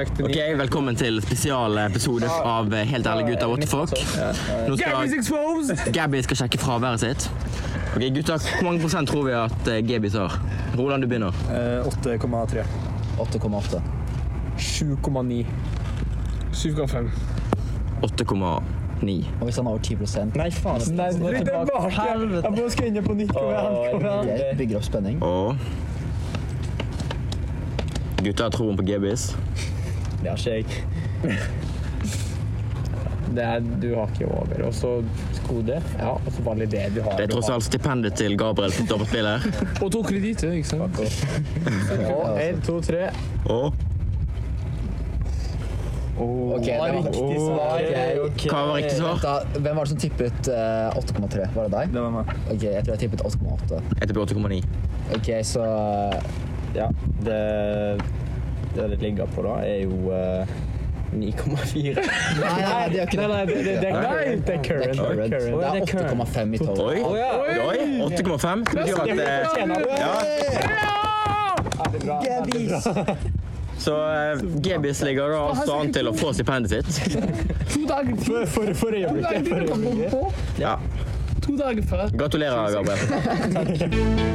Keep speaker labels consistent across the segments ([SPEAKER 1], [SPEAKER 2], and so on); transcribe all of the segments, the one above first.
[SPEAKER 1] Ok, Velkommen til spesialepisode av eh, Helt ærlig gutta, what the fuck. Nå skal Gabby skal sjekke fraværet sitt. Ok, gutta, Hvor mange prosent tror vi at eh, Gabby tar? Roland, du begynner.
[SPEAKER 2] Eh,
[SPEAKER 3] 8,3.
[SPEAKER 4] 8,8.
[SPEAKER 3] 7,9.
[SPEAKER 2] 7,5.
[SPEAKER 1] 8,9.
[SPEAKER 4] Og hvis han har over 10
[SPEAKER 3] Nei, faen. Nei,
[SPEAKER 2] sånn
[SPEAKER 3] nå er jeg tilbake. Jeg må skru inn på nytt. Kom igjen. kom igjen.
[SPEAKER 4] Jeg bygger opp spenning.
[SPEAKER 1] Og Gutta har troen på Gabbys.
[SPEAKER 5] Det er shake.
[SPEAKER 2] Det er du har ikke over. Og så kode. Ja, og så bare litt det du har.
[SPEAKER 1] Det er tross alt stipendet til Gabriel som står på spill her.
[SPEAKER 2] Og to kreditter, ikke sant? Og en, to, tre.
[SPEAKER 1] Og
[SPEAKER 4] Ok, det var riktig svar. Ok.
[SPEAKER 1] hva var riktig svar?
[SPEAKER 4] Vent da, Hvem var det som tippet eh, 8,3? Var det deg?
[SPEAKER 3] Det var meg.
[SPEAKER 4] Ok, Jeg tror jeg tippet 8,8.
[SPEAKER 1] Jeg tipper 8,9.
[SPEAKER 4] Ok, så
[SPEAKER 5] Ja, det det det ligger på da, er jo eh, 9,4.
[SPEAKER 4] Nei, nei, nei, det er ikke
[SPEAKER 2] Nei,
[SPEAKER 4] det.
[SPEAKER 2] nei, det, det, det, er current. Det er
[SPEAKER 4] Det er
[SPEAKER 2] current.
[SPEAKER 4] current.
[SPEAKER 2] Å, ja, det er
[SPEAKER 4] Det er
[SPEAKER 2] current.
[SPEAKER 4] 8,5 i total.
[SPEAKER 1] Oi! Oi! 8,5. Det betyr at eh, Så eh, Gebis ligger da altså an til å få stipendet sitt.
[SPEAKER 2] To dager før.
[SPEAKER 3] For, for øyeblikket. For øyeblikket.
[SPEAKER 1] Ja.
[SPEAKER 2] To dager før.
[SPEAKER 1] Gratulerer, Gabriel.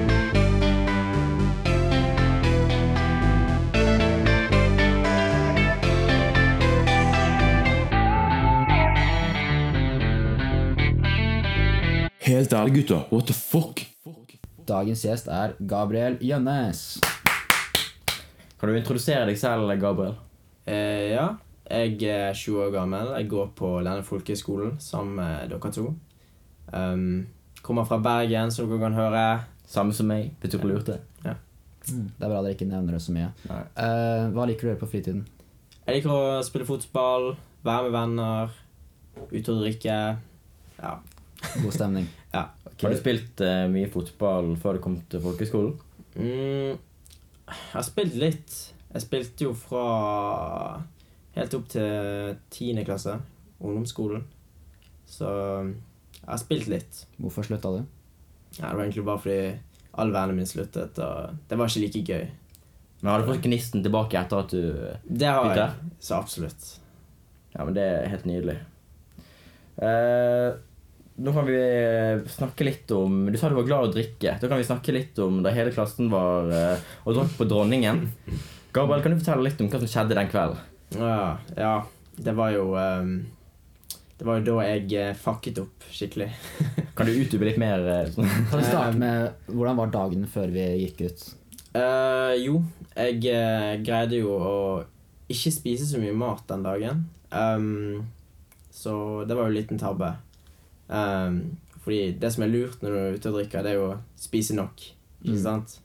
[SPEAKER 6] Helt ærlig, gutter. What the fuck?
[SPEAKER 4] Dagens gjest er Gabriel Gjønnes.
[SPEAKER 5] Kan du introdusere deg selv, Gabriel? Eh, ja. Jeg er 20 år gammel. Jeg går på Lene folkehøgskolen sammen med dere to. Um, kommer fra Bergen, som dere kan høre.
[SPEAKER 1] Samme som meg. Betyr på lurte.
[SPEAKER 4] Det er bra dere ikke nevner det så mye.
[SPEAKER 5] Nei.
[SPEAKER 4] Eh, hva liker du å gjøre på fritiden?
[SPEAKER 5] Jeg liker å spille fotball, være med venner, ut og drikke. Ja.
[SPEAKER 4] God stemning.
[SPEAKER 5] Ja.
[SPEAKER 4] Ok.
[SPEAKER 1] spilt eh, mye fotball før du kom til folkehøyskolen?
[SPEAKER 5] Mm, jeg har spilt litt. Jeg spilte jo fra helt opp til 10. klasse, ungdomsskolen. Så eh, jeg har spilt litt.
[SPEAKER 4] Hvorfor slutta du?
[SPEAKER 5] Ja, det var egentlig bare fordi all vennene mine sluttet, og det var ikke like gøy.
[SPEAKER 1] Men har du fått gnisten tilbake etter at du
[SPEAKER 5] Det har
[SPEAKER 1] Bytte?
[SPEAKER 5] jeg. Så absolutt.
[SPEAKER 1] Ja, men det er helt nydelig. Eh, nå kan vi eh, snakke litt om Du sa du var glad i å drikke. Da kan vi snakke litt om da hele klassen var eh, og drakk på Dronningen. Gabriel, kan du fortelle litt om hva som skjedde den kvelden?
[SPEAKER 5] Ja, ja. Det var jo ehm, Det var jo da jeg eh, fucket opp skikkelig.
[SPEAKER 1] Kan du utdype litt mer? eh, sånn?
[SPEAKER 4] Kan vi starte med Hvordan var dagen før vi gikk ut?
[SPEAKER 5] Eh, jo, jeg eh, greide jo å ikke spise så mye mat den dagen. Ehm, så det var jo en liten tabbe. Ehm, fordi det som er lurt når du er ute og drikker, det er jo å spise nok.
[SPEAKER 1] Mm.
[SPEAKER 5] Ikke sant?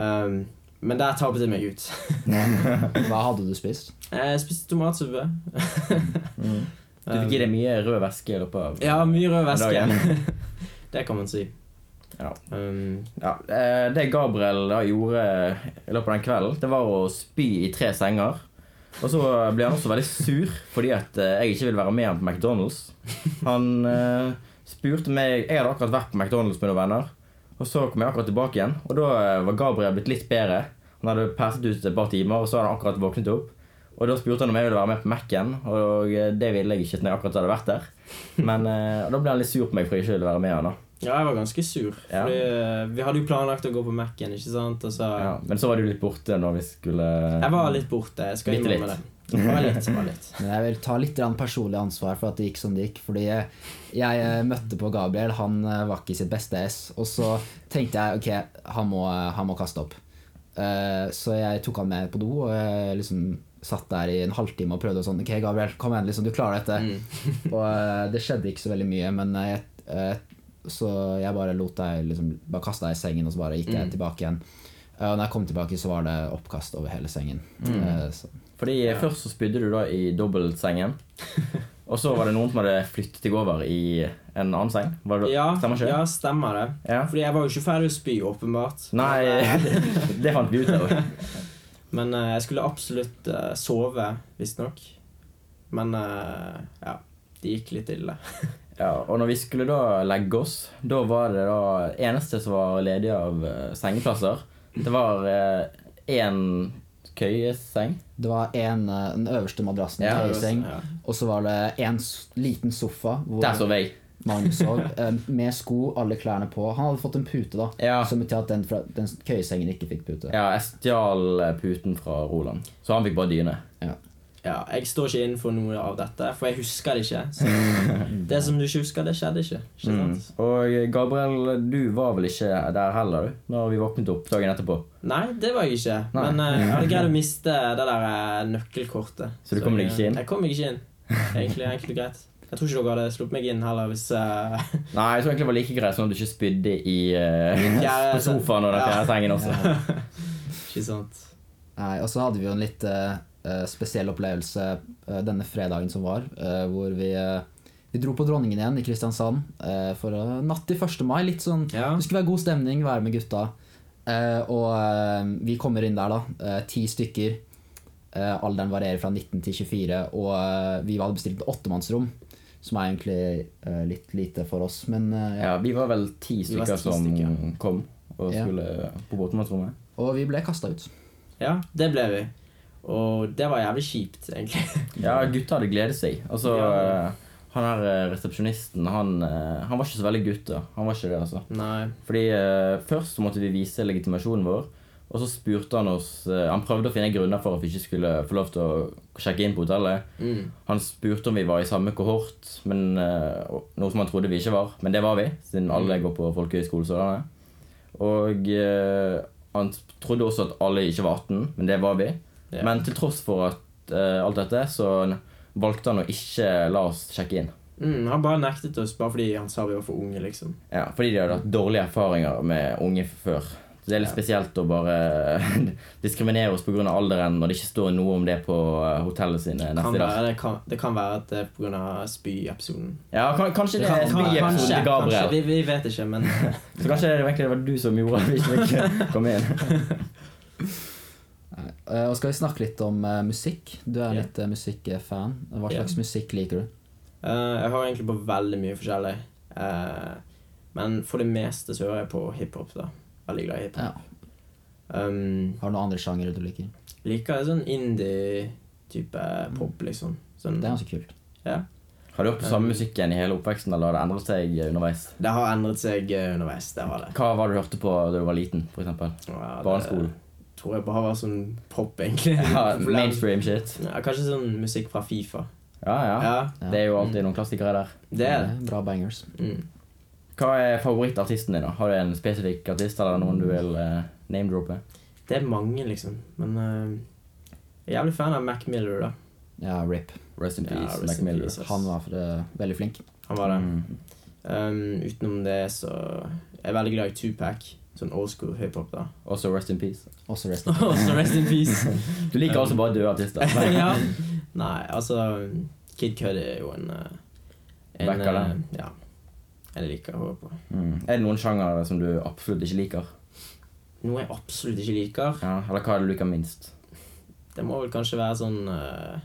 [SPEAKER 5] Ehm, men der tabbet jeg meg ut.
[SPEAKER 4] Hva hadde du spist?
[SPEAKER 5] Jeg spiste tomatsuppe.
[SPEAKER 1] Mm. Du fikk i deg mye rød væske i løpet av
[SPEAKER 5] Ja, mye rød
[SPEAKER 1] Dagen.
[SPEAKER 5] væske. det kan man si.
[SPEAKER 1] Ja.
[SPEAKER 5] Ehm,
[SPEAKER 1] Ja, eh, det Gabriel da gjorde i løpet av den kvelden, det var å spy i tre senger. Og så ble han også veldig sur fordi at eh, jeg ikke ville være med han på McDonald's. Han eh, spurte meg Jeg hadde akkurat vært på McDonald's med noen venner. Og så kom jeg akkurat tilbake igjen, og da eh, var Gabriel blitt litt bedre. Han hadde passet ut et par timer, og så hadde han akkurat våknet opp. Og da spurte han om jeg ville være med på Mac-en, og eh, det ville jeg ikke når jeg akkurat hadde vært der. Men eh, da ble han litt sur på meg for jeg ikke ville være med han. da
[SPEAKER 5] ja, jeg var ganske sur.
[SPEAKER 1] Ja.
[SPEAKER 5] Fordi eh, vi hadde jo planlagt å gå på Mac-en, ikke sant? Og så
[SPEAKER 1] Ja, men så var du litt borte når vi skulle
[SPEAKER 5] Jeg var litt borte. Jeg skal
[SPEAKER 1] Bitte
[SPEAKER 5] innrømme det.
[SPEAKER 1] litt.
[SPEAKER 5] Det var litt, det var litt.
[SPEAKER 4] Men jeg vil ta litt grann personlig ansvar for at det gikk som det gikk. Fordi jeg, jeg eh, møtte på Gabriel, han eh, var ikke i sitt beste ess. Og så tenkte jeg ok, han må, han må kaste opp. Eh, Så jeg tok han med på do, og jeg liksom satt der i en halvtime og prøvde og sånn Ok, Gabriel, kom igjen, liksom, du klarer dette. Og eh, det skjedde ikke så veldig mye, men eh, jeg, eh, så jeg bare lot deg liksom Bare kasta deg i sengen, og så bare gikk jeg tilbake igjen. Eh, Og når jeg kom tilbake, så var det oppkast over hele sengen. Eh, Så
[SPEAKER 1] Fordi først så spydde du da i dobbeltsengen. Og så var det noen som hadde flyttet deg over i en annen seng. Var det,
[SPEAKER 5] Ja,
[SPEAKER 1] Stemmer ikke?
[SPEAKER 5] ja, stemmer det.
[SPEAKER 1] Ja.
[SPEAKER 5] Fordi jeg var jo ikke ferdig å spy, åpenbart. eh,
[SPEAKER 1] Nei, det fant vi ut av.
[SPEAKER 5] Men eh, jeg skulle absolutt eh, sove, visstnok. Men eh, ja. Det gikk litt ille.
[SPEAKER 1] Ja, og når vi skulle da legge oss, da var det da eneste som var ledig av eh, sengeplasser. Det var én eh, køyeseng.
[SPEAKER 4] Det var en, eh, den øverste madrassen i
[SPEAKER 1] Ja,
[SPEAKER 4] køyeseng,
[SPEAKER 5] ja.
[SPEAKER 4] og så var det en s- liten sofa hvor
[SPEAKER 1] Der sov jeg.
[SPEAKER 4] Magnus sov, eh, med sko, alle klærne på. Han hadde fått en pute, da,
[SPEAKER 1] Ja.
[SPEAKER 4] som betyr at den, fra, den køyesengen ikke fikk pute.
[SPEAKER 1] Ja, jeg stjal eh, puten fra Roland, så han fikk bare dyne.
[SPEAKER 5] Ja, jeg står ikke innenfor noe av dette, for jeg husker det ikke. Så det som du ikke husker, det skjedde ikke. ikke
[SPEAKER 1] Mm.
[SPEAKER 5] sant?
[SPEAKER 1] Og eh, Gabriel, du var vel ikke der heller, du? Når vi våknet opp dagen etterpå.
[SPEAKER 5] Nei, det var jeg ikke.
[SPEAKER 1] Nei.
[SPEAKER 5] Men eh, jeg hadde greid å miste det der eh, nøkkelkortet.
[SPEAKER 1] Så du kom deg
[SPEAKER 5] jeg-
[SPEAKER 1] ikke inn?
[SPEAKER 5] Jeg kom meg ikke inn. Egentlig, egentlig greit. Jeg tror ikke dere hadde sluppet meg inn heller hvis eh,
[SPEAKER 1] Nei, jeg tror egentlig det var like greit sånn at du ikke spydde i eh,
[SPEAKER 5] Ja,
[SPEAKER 1] på sofaen og den
[SPEAKER 5] ja.
[SPEAKER 1] fjerde sengen også.
[SPEAKER 5] Ikke sant.
[SPEAKER 4] Nei, og så hadde vi jo en litt eh, eh, spesiell opplevelse eh, denne fredagen som var, eh, hvor vi, eh, vi dro på Dronningen igjen i Kristiansand eh, for eh, natt til 1. mai. Litt sånn
[SPEAKER 5] Ja.
[SPEAKER 4] Det skulle være god stemning, være med gutta. Eh, og eh, vi kommer inn der, da. eh, Ti stykker. Eh, alderen varierer fra 19 til 24. Og eh, vi hadde bestilt åttemannsrom, som er egentlig eh, litt lite for oss. Men eh, ja.
[SPEAKER 1] Ja, vi var vel ti stykker
[SPEAKER 5] var ti
[SPEAKER 1] som
[SPEAKER 5] stykker.
[SPEAKER 1] kom og
[SPEAKER 4] Ja.
[SPEAKER 1] skulle eh, på båtmannsrommet.
[SPEAKER 4] Og vi ble kasta ut.
[SPEAKER 5] Ja, det ble vi. Og det var jævlig kjipt, egentlig.
[SPEAKER 1] Ja, gutta hadde gledet seg. Altså,
[SPEAKER 5] Ja.
[SPEAKER 1] eh, han her eh, resepsjonisten, han, eh, han var ikke så veldig gutte. Han var ikke det, altså.
[SPEAKER 5] Nei.
[SPEAKER 1] Fordi eh, først så måtte vi vise legitimasjonen vår, og så spurte han oss eh, Han prøvde å finne grunner for at vi ikke skulle få lov til å sjekke inn på hotellet.
[SPEAKER 5] Mm.
[SPEAKER 1] Han spurte om vi var i samme kohort, men, eh, og- noe som han trodde vi ikke var. Men det var vi, siden alle
[SPEAKER 5] Mm.
[SPEAKER 1] går på folkehøyskole. Sørlandet. Og eh, han trodde også at alle ikke var 18, men det var vi.
[SPEAKER 5] Ja.
[SPEAKER 1] Men til tross for at eh, alt dette, så n- valgte han å ikke la oss sjekke inn.
[SPEAKER 5] Mm, han bare nektet oss bare fordi han sa vi var for unge, liksom.
[SPEAKER 1] Ja, fordi de hadde hatt dårlige erfaringer med unge før. Så det er litt spesielt å bare diskriminere oss pga. alderen når det ikke står noe om det på eh, hotellet sine
[SPEAKER 5] Kan
[SPEAKER 1] neste dag.
[SPEAKER 5] være, det, kan, det kan være at det er pga. spy-episoden.
[SPEAKER 1] Ja, kan, kanskje det er
[SPEAKER 5] Kan- kan-
[SPEAKER 1] spy-episoden til Gabriel.
[SPEAKER 5] kanskje. Vi, vi vet ikke, men
[SPEAKER 1] Så kanskje det egentlig var du som gjorde at vi ikke fikk komme inn.
[SPEAKER 4] Nei. Eh, og skal vi snakke litt om eh, musikk? Du er
[SPEAKER 5] Ja.
[SPEAKER 4] litt eh, musikkfan. Hva
[SPEAKER 5] Ja.
[SPEAKER 4] slags musikk liker du?
[SPEAKER 5] Eh, jeg hører egentlig på veldig mye forskjellig. Eh, men for det meste så hører jeg på hiphop. da Veldig glad i hiphop.
[SPEAKER 4] Ja.
[SPEAKER 5] Um,
[SPEAKER 4] Har du noen andre sjangere du liker?
[SPEAKER 5] liker sånn indie-type pop, liksom. Sånn,
[SPEAKER 4] Det er ganske kult.
[SPEAKER 1] Har du hørt på samme musikken i hele oppveksten, eller har det endret seg underveis?
[SPEAKER 5] det har endret seg eh, underveis. Det har det.
[SPEAKER 1] Hva var det du hørte på da du var liten, for eksempel?
[SPEAKER 5] Ja, det
[SPEAKER 1] Barneskolen?
[SPEAKER 5] Tror jeg bare var sånn pop, egentlig.
[SPEAKER 1] Ja,
[SPEAKER 5] Populær-
[SPEAKER 1] mainstream shit.
[SPEAKER 5] Ja, kanskje sånn musikk fra Fifa.
[SPEAKER 1] Ja, ja.
[SPEAKER 5] Ja,
[SPEAKER 4] Ja.
[SPEAKER 1] Det er jo alltid noen klassikere der.
[SPEAKER 5] det er det.
[SPEAKER 4] Eh, Bra bangers.
[SPEAKER 5] Mm.
[SPEAKER 1] Hva er favorittartisten din? da? Har du en spesifikk artist eller noen du vil eh, name-droppe?
[SPEAKER 5] Det er mange, liksom. Men eh, jeg er jævlig fan av Mac Miller, da.
[SPEAKER 4] Ja, rip.
[SPEAKER 1] Rest in
[SPEAKER 5] Ja,
[SPEAKER 1] peace,
[SPEAKER 5] rest
[SPEAKER 1] Mac
[SPEAKER 5] in
[SPEAKER 1] Miller.
[SPEAKER 5] peace, ass.
[SPEAKER 4] Han var eh, veldig flink.
[SPEAKER 5] Han var det.
[SPEAKER 1] Mm.
[SPEAKER 5] Um, utenom det så Jeg er veldig glad i Tupac. Sånn old school hiphop, da.
[SPEAKER 1] Også rest in peace.
[SPEAKER 4] Også rest in
[SPEAKER 5] Og så rest in peace.
[SPEAKER 1] Du liker altså bare døde artister.
[SPEAKER 5] ja. Nei, altså Kid Cudi er jo en eh, en,
[SPEAKER 1] Backer det.
[SPEAKER 5] eh, Ja. Jeg liker å høre på.
[SPEAKER 1] Mm. Er det noen sjangere som du absolutt ikke liker?
[SPEAKER 5] Noe jeg absolutt ikke liker,
[SPEAKER 1] Ja, eller hva er det du liker minst?
[SPEAKER 5] det må vel kanskje være sånn eh,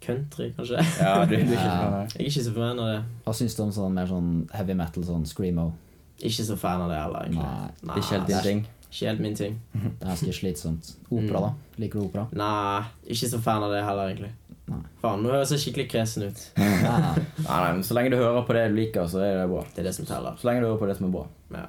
[SPEAKER 5] Country, kanskje.
[SPEAKER 1] Ja, du, du er ikke
[SPEAKER 4] Ja.
[SPEAKER 1] sånn,
[SPEAKER 5] Jeg er ikke så fan av det.
[SPEAKER 4] Hva syns du om sånn mer sånn heavy metal, sånn screamo?
[SPEAKER 5] Ikke så fan av det heller. egentlig.
[SPEAKER 4] Nei,
[SPEAKER 1] nei. Det er ikke helt din
[SPEAKER 5] det er
[SPEAKER 1] ting.
[SPEAKER 5] ikke helt min ting.
[SPEAKER 4] det er ganske slitsomt. Opera, da? Liker du opera?
[SPEAKER 5] Nei, ikke så fan av det heller, egentlig.
[SPEAKER 4] Nei.
[SPEAKER 5] Faen, nå høres jeg skikkelig kresen ut.
[SPEAKER 4] Nei, nei.
[SPEAKER 1] Nei, nei, men Så lenge du hører på det du liker, så er det bra.
[SPEAKER 5] Det er det som teller.
[SPEAKER 1] Så lenge du hører på det som er bra.
[SPEAKER 5] Ja.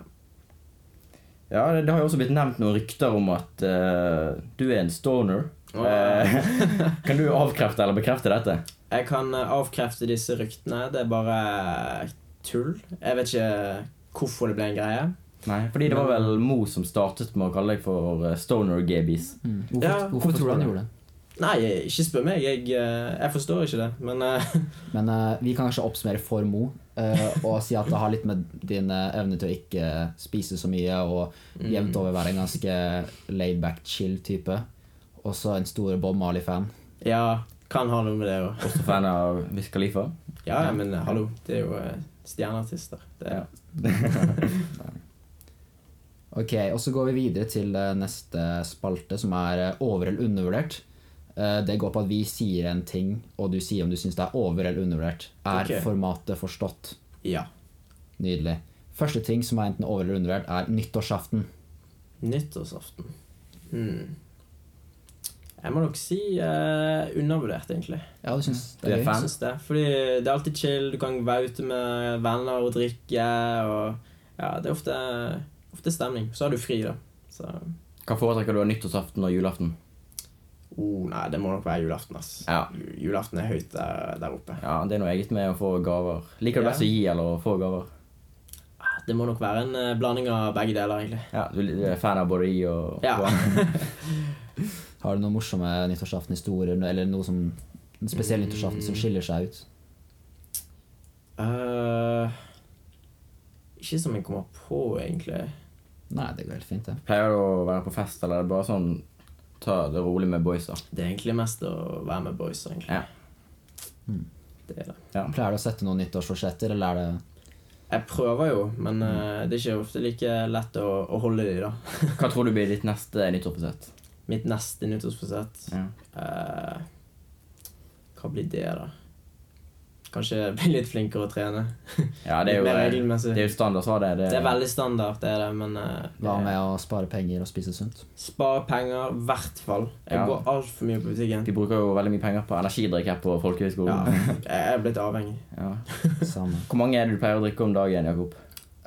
[SPEAKER 1] Ja, Det, det har jo også blitt nevnt noen rykter om at eh, du er en stoner.
[SPEAKER 5] Åh.
[SPEAKER 1] Eh, kan du avkrefte eller bekrefte dette?
[SPEAKER 5] Jeg kan eh, avkrefte disse ryktene. Det er bare eh, tull. Jeg vet ikke hvorfor det ble en greie.
[SPEAKER 1] Nei, Fordi det var vel Mo som startet med å kalle deg for eh, stoner gabies.
[SPEAKER 4] Mm. Hvorfor,
[SPEAKER 5] Ja,
[SPEAKER 4] hvorfor tror du han gjorde det?
[SPEAKER 5] Nei, ikke spør meg. Jeg, eh, jeg forstår ikke det. Men eh,
[SPEAKER 4] Men eh, vi kan kanskje oppsummere for Mo eh, og si at det har litt med din eh, evne til å ikke spise så mye og jevnt over være en ganske laid-back, chill type. Også en stor Bob Marley-fan.
[SPEAKER 5] ja, kan ha noe med det òg.
[SPEAKER 1] Også fan av Wiz Khalifa.
[SPEAKER 5] Ja, ja, men eh, hallo, det er jo eh, stjerneartister. Det er,
[SPEAKER 1] Ja.
[SPEAKER 4] Ok, og så går vi videre til eh, neste spalte, som er eh, over- eller undervurdert. Eh, det går på at vi sier en ting, og du sier om du syns det er over- eller undervurdert. Er
[SPEAKER 5] Ok.
[SPEAKER 4] formatet forstått?
[SPEAKER 5] ja.
[SPEAKER 4] Nydelig. Første ting som er enten over- eller undervurdert, er nyttårsaften.
[SPEAKER 5] Nyttårsaften. Hmm. Jeg må nok si eh, undervurdert, egentlig.
[SPEAKER 4] Ja, du syns
[SPEAKER 1] Du
[SPEAKER 4] det
[SPEAKER 1] er
[SPEAKER 4] er gøy?
[SPEAKER 1] fan?
[SPEAKER 5] Jeg synes det. Fordi det er alltid chill. Du kan være ute med venner og drikke. Og ja, det er ofte, ofte stemning. Så har du fri, da. Så
[SPEAKER 1] Hva foretrekker du av nyttårsaften og julaften?
[SPEAKER 5] oh, Nei, det må nok være julaften, ass.
[SPEAKER 1] Ja.
[SPEAKER 5] Ju- Julaften er høyt der, der oppe.
[SPEAKER 1] ja, Det er noe eget med å få gaver. Liker du
[SPEAKER 5] Ja.
[SPEAKER 1] best å gi eller å få gaver?
[SPEAKER 5] Det må nok være en eh, blanding av begge deler, egentlig.
[SPEAKER 1] Ja, Du er eh, fan av både gi og
[SPEAKER 5] Ja.
[SPEAKER 1] og-
[SPEAKER 4] Har du noen morsomme nyttårsaftenhistorier, eller noe som en spesiell nyttårsaften som skiller seg ut?
[SPEAKER 5] Eh, ikke som jeg kommer på, egentlig.
[SPEAKER 4] Nei, det går helt fint, det.
[SPEAKER 1] Pleier du å være på fest, eller er det bare sånn ta det rolig med boysa?
[SPEAKER 5] Det er egentlig mest å være med boys, egentlig.
[SPEAKER 1] Ja.
[SPEAKER 5] Det er det.
[SPEAKER 4] Pleier du å sette noen nyttårsforsetter, eller er det
[SPEAKER 5] Jeg prøver jo, men eh, det er ikke ofte like lett å, å holde de, da.
[SPEAKER 1] Hva tror du blir ditt neste nyttårsforsett?
[SPEAKER 5] Mitt neste nyttårsforsett
[SPEAKER 1] Ja.
[SPEAKER 5] eh, Hva blir det, da? Kanskje bli litt flinkere å trene.
[SPEAKER 1] Ja, det er jo eh,
[SPEAKER 5] Litt mer
[SPEAKER 1] det
[SPEAKER 5] regelmessig.
[SPEAKER 1] er jo standard svar, det.
[SPEAKER 5] Det er veldig standard, det er det, men eh,
[SPEAKER 4] Hva med å spare penger og spise sunt?
[SPEAKER 5] Spare penger, i hvert fall. Jeg
[SPEAKER 1] Ja.
[SPEAKER 5] går altfor mye på butikken.
[SPEAKER 1] De bruker jo veldig mye penger på energidrikk her på
[SPEAKER 5] Ja,
[SPEAKER 1] folkehøyskolen.
[SPEAKER 5] jeg er blitt avhengig.
[SPEAKER 1] Ja.
[SPEAKER 4] Samme.
[SPEAKER 1] Hvor mange er det du pleier å drikke om dagen, Jakob?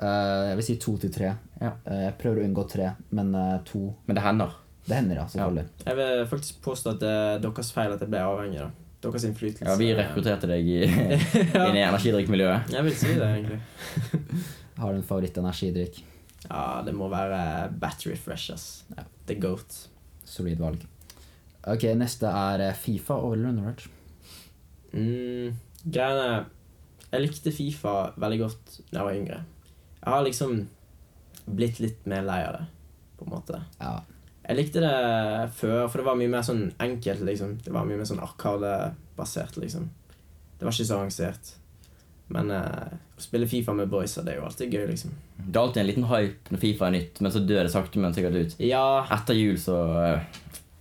[SPEAKER 4] Eh, jeg vil si to til tre.
[SPEAKER 1] Ja.
[SPEAKER 4] Eh, jeg prøver å unngå tre, men eh, to
[SPEAKER 1] Men det hender.
[SPEAKER 4] Det hender, ja. Selvfølgelig.
[SPEAKER 5] Jeg vil faktisk påstå at det er deres feil at jeg ble avhengig. da. Deres innflytelse.
[SPEAKER 1] Ja, Vi rekrutterte deg i, inn i energidrikkmiljøet.
[SPEAKER 5] Jeg vil si det, egentlig.
[SPEAKER 4] Har du en favoritt-energidrikk?
[SPEAKER 5] Ja, det må være battery fresh, ass.
[SPEAKER 4] Ja.
[SPEAKER 5] The goat.
[SPEAKER 4] Solid valg. Ok, neste er eh, Fifa over eller undervurdert.
[SPEAKER 5] Mm, greiene Jeg likte Fifa veldig godt da jeg var yngre. Jeg har liksom blitt litt mer lei av det, på en måte.
[SPEAKER 4] Ja.
[SPEAKER 5] Jeg likte det før, for det var mye mer sånn enkelt, liksom. Det var mye mer sånn arkadebasert, liksom. Det var ikke så avansert. Men eh, å spille Fifa med boysa, det er jo alltid gøy, liksom.
[SPEAKER 1] Det er alltid en liten hype når Fifa er nytt, men så dør det sakte, men sikkert ut.
[SPEAKER 5] Ja,
[SPEAKER 1] Etter jul så eh,